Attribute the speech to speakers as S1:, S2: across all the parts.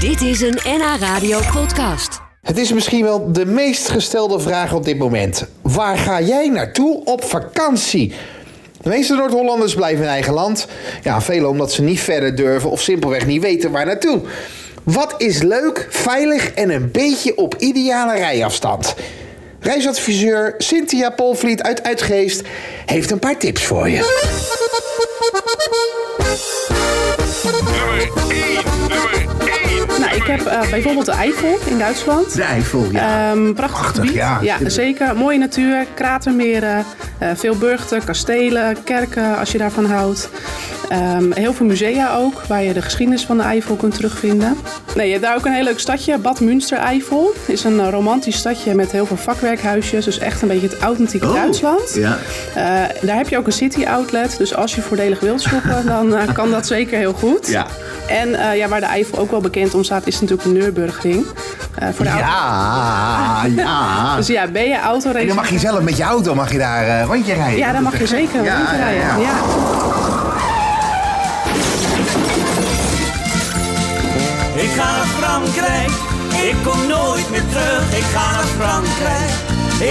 S1: Dit is een NH Radio podcast.
S2: Het is misschien wel de meest gestelde vraag op dit moment. Waar ga jij naartoe op vakantie? De meeste Noord-Hollanders blijven in eigen land. Ja, velen omdat ze niet verder durven of simpelweg niet weten waar naartoe. Wat is leuk, veilig en een beetje op ideale rijafstand? Reisadviseur Cynthia Polvliet uit Uitgeest heeft een paar tips voor je.
S3: Nummer 1, nummer 1.
S4: Nou, ik heb eh, bijvoorbeeld de Eifel in Duitsland.
S2: De Eifel,
S4: Ehm, prachtig
S2: Prachtig,
S4: gebied.
S2: ja.
S4: zeker. Mooie natuur, kratermeren, eh, veel burchten, kastelen, kerken als je daarvan houdt. Ehm, heel veel musea ook, waar je de geschiedenis van de Eifel kunt terugvinden. Nee, je hebt daar ook een heel leuk stadje, Bad Münstereifel. is een eh, romantisch stadje met heel veel vakwerkhuisjes. Dus echt een beetje het authentieke
S2: Oh.
S4: Duitsland.
S5: Ja.
S4: Eh, daar heb je ook een city outlet. Dus als je voordelig wilt shoppen, dan eh, kan dat zeker heel goed.
S5: Ja.
S4: En eh, ja, waar de Eifel ook wel bekend om staat, is natuurlijk de Nürburgring. Eh, voor de auto.
S2: Ja, ja.
S4: Dus ja, ben je autoracer...
S2: En dan mag je zelf met je auto mag je daar eh, rondje rijden.
S4: Ja, dan mag je zeker
S2: Ja,
S4: rondrijden.
S2: ja, ja.
S4: rijden. Ja.
S6: Ik ga naar Frankrijk, ik kom nooit meer terug. Ik ga naar Frankrijk,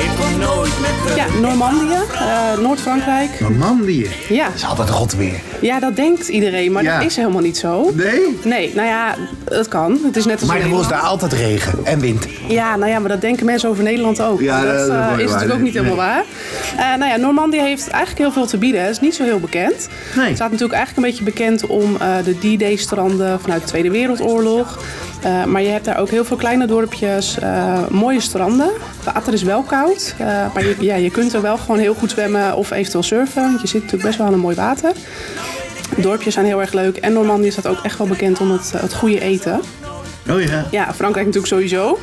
S6: ik kom nooit meer terug.
S4: Ja, Normandië, eh, Noord-Frankrijk.
S5: Normandië.
S4: Ja.
S2: Dat is altijd rot weer.
S4: ja, dat denkt iedereen, maar
S5: Ja.
S4: dat is helemaal niet zo.
S5: Nee?
S4: Nee, nou ja, dat kan. Het is net als
S2: Maar
S4: in
S2: er was
S4: Nederland.
S2: daar altijd regen en wind.
S4: Ja, nou ja, maar dat denken mensen over Nederland ook.
S5: Ja,
S4: dat
S5: dat is
S4: eh,
S5: wel
S4: is
S5: waar.
S4: natuurlijk ook niet helemaal
S5: Nee.
S4: waar. Eh, nou ja, Normandië heeft eigenlijk heel veel te bieden. Het is niet zo heel bekend.
S5: Nee.
S4: Het staat natuurlijk eigenlijk een beetje bekend om eh, de D-Day-stranden vanuit de Tweede Wereldoorlog. Eh, maar je hebt daar ook heel veel kleine dorpjes, eh, mooie stranden. Het water is wel koud, eh, maar je, ja, je kunt er wel gewoon heel goed zwemmen of eventueel surfen. Want je zit natuurlijk best wel aan een mooi water. Dorpjes zijn heel erg leuk. En Normandië staat ook echt wel bekend om het, eh, het goede eten.
S5: Oh ja.
S4: Ja, Frankrijk natuurlijk sowieso.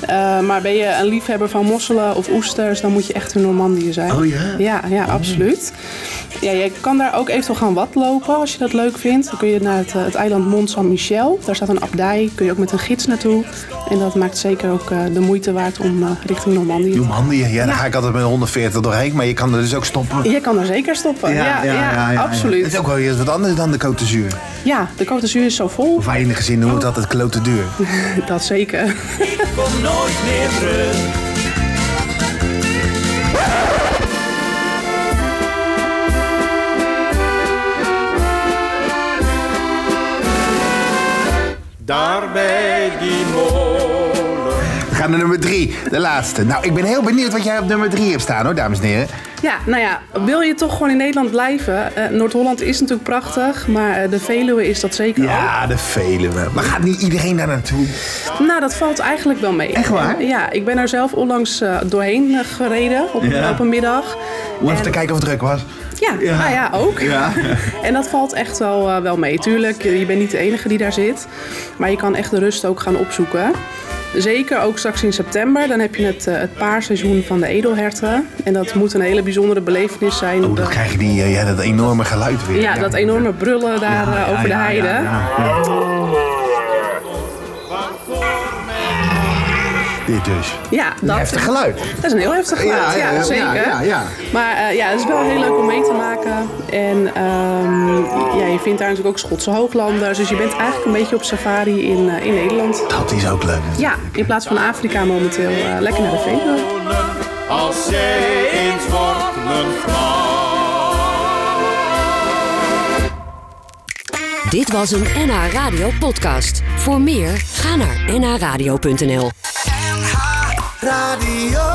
S4: Eh, maar ben je een liefhebber van mosselen of oesters, dan moet je echt in Normandië zijn.
S5: Oh ja?
S4: Ja, ja absoluut. Ja, je kan daar ook eventueel gaan watlopen als je dat leuk vindt. Dan kun je naar het, eh, het eiland Mont Saint-Michel. Daar staat een abdij, kun je ook met een gids naartoe. En dat maakt zeker ook eh, de moeite waard om eh, richting Normandië te
S2: Normandië, ja, daar ga ik altijd met 140 doorheen, maar je kan er dus ook stoppen.
S4: Je kan er zeker stoppen. Ja, ja, absoluut.
S2: Het is ook wel weer wat anders dan de Côte d'Azur.
S4: Ja, de Côte d'Azur is zo vol.
S2: Of weinig gezin noemt het altijd klote duur.
S4: Dat zeker.
S6: Ik kom nooit meer terug.
S3: Daar bij die molen.
S2: We gaan naar nummer drie, de laatste. Nou, ik ben heel benieuwd wat jij op nummer drie hebt staan hoor, dames en heren.
S4: Ja, nou ja, wil je toch gewoon in Nederland blijven? Eh, Noord-Holland is natuurlijk prachtig, maar eh, de Veluwe is dat zeker
S2: Ja, de Veluwe. Maar gaat niet iedereen daar naartoe?
S4: ook. Nou, dat valt eigenlijk wel mee.
S2: Echt waar?
S4: Ja, ik ben er zelf onlangs eh, doorheen eh, gereden op,
S5: Ja.
S4: op een middag.
S2: Om even te kijken of het druk was.
S4: Ja,
S5: Ja.
S4: nou ja, ook.
S5: Ja.
S4: En dat valt echt wel, eh, wel mee. Tuurlijk, je je bent niet de enige die daar zit. Maar je kan echt de rust ook gaan opzoeken. Zeker ook straks in september. Dan heb je het, eh, het paarseizoen van de edelherten. En dat moet een hele bijzondere belevenis zijn.
S2: Oh, dan
S4: Dat-
S2: krijg je die, eh, ja, dat enorme geluid weer.
S4: Ja, dat enorme brullen daar eh, over de heide.
S5: Ja, ja, ja.
S2: Dit dus.
S4: Ja, dat,
S2: Heftig geluid.
S4: dat is een heel heftig geluid. Ja, zeker.
S2: Ja, ja.
S4: Maar eh, ja, het is wel heel leuk om mee te maken. En ehm, ja, je vindt daar natuurlijk ook Schotse hooglanders. Dus je bent eigenlijk een beetje op safari in, eh, in Nederland.
S2: Dat is ook leuk.
S4: Ja, in plaats van Afrika momenteel eh, lekker naar de Veluwe.
S3: Als zij eens wordt een vrouw.
S1: Dit was een NH Radio podcast. Voor meer, ga naar nhradio.nl.
S6: Radio.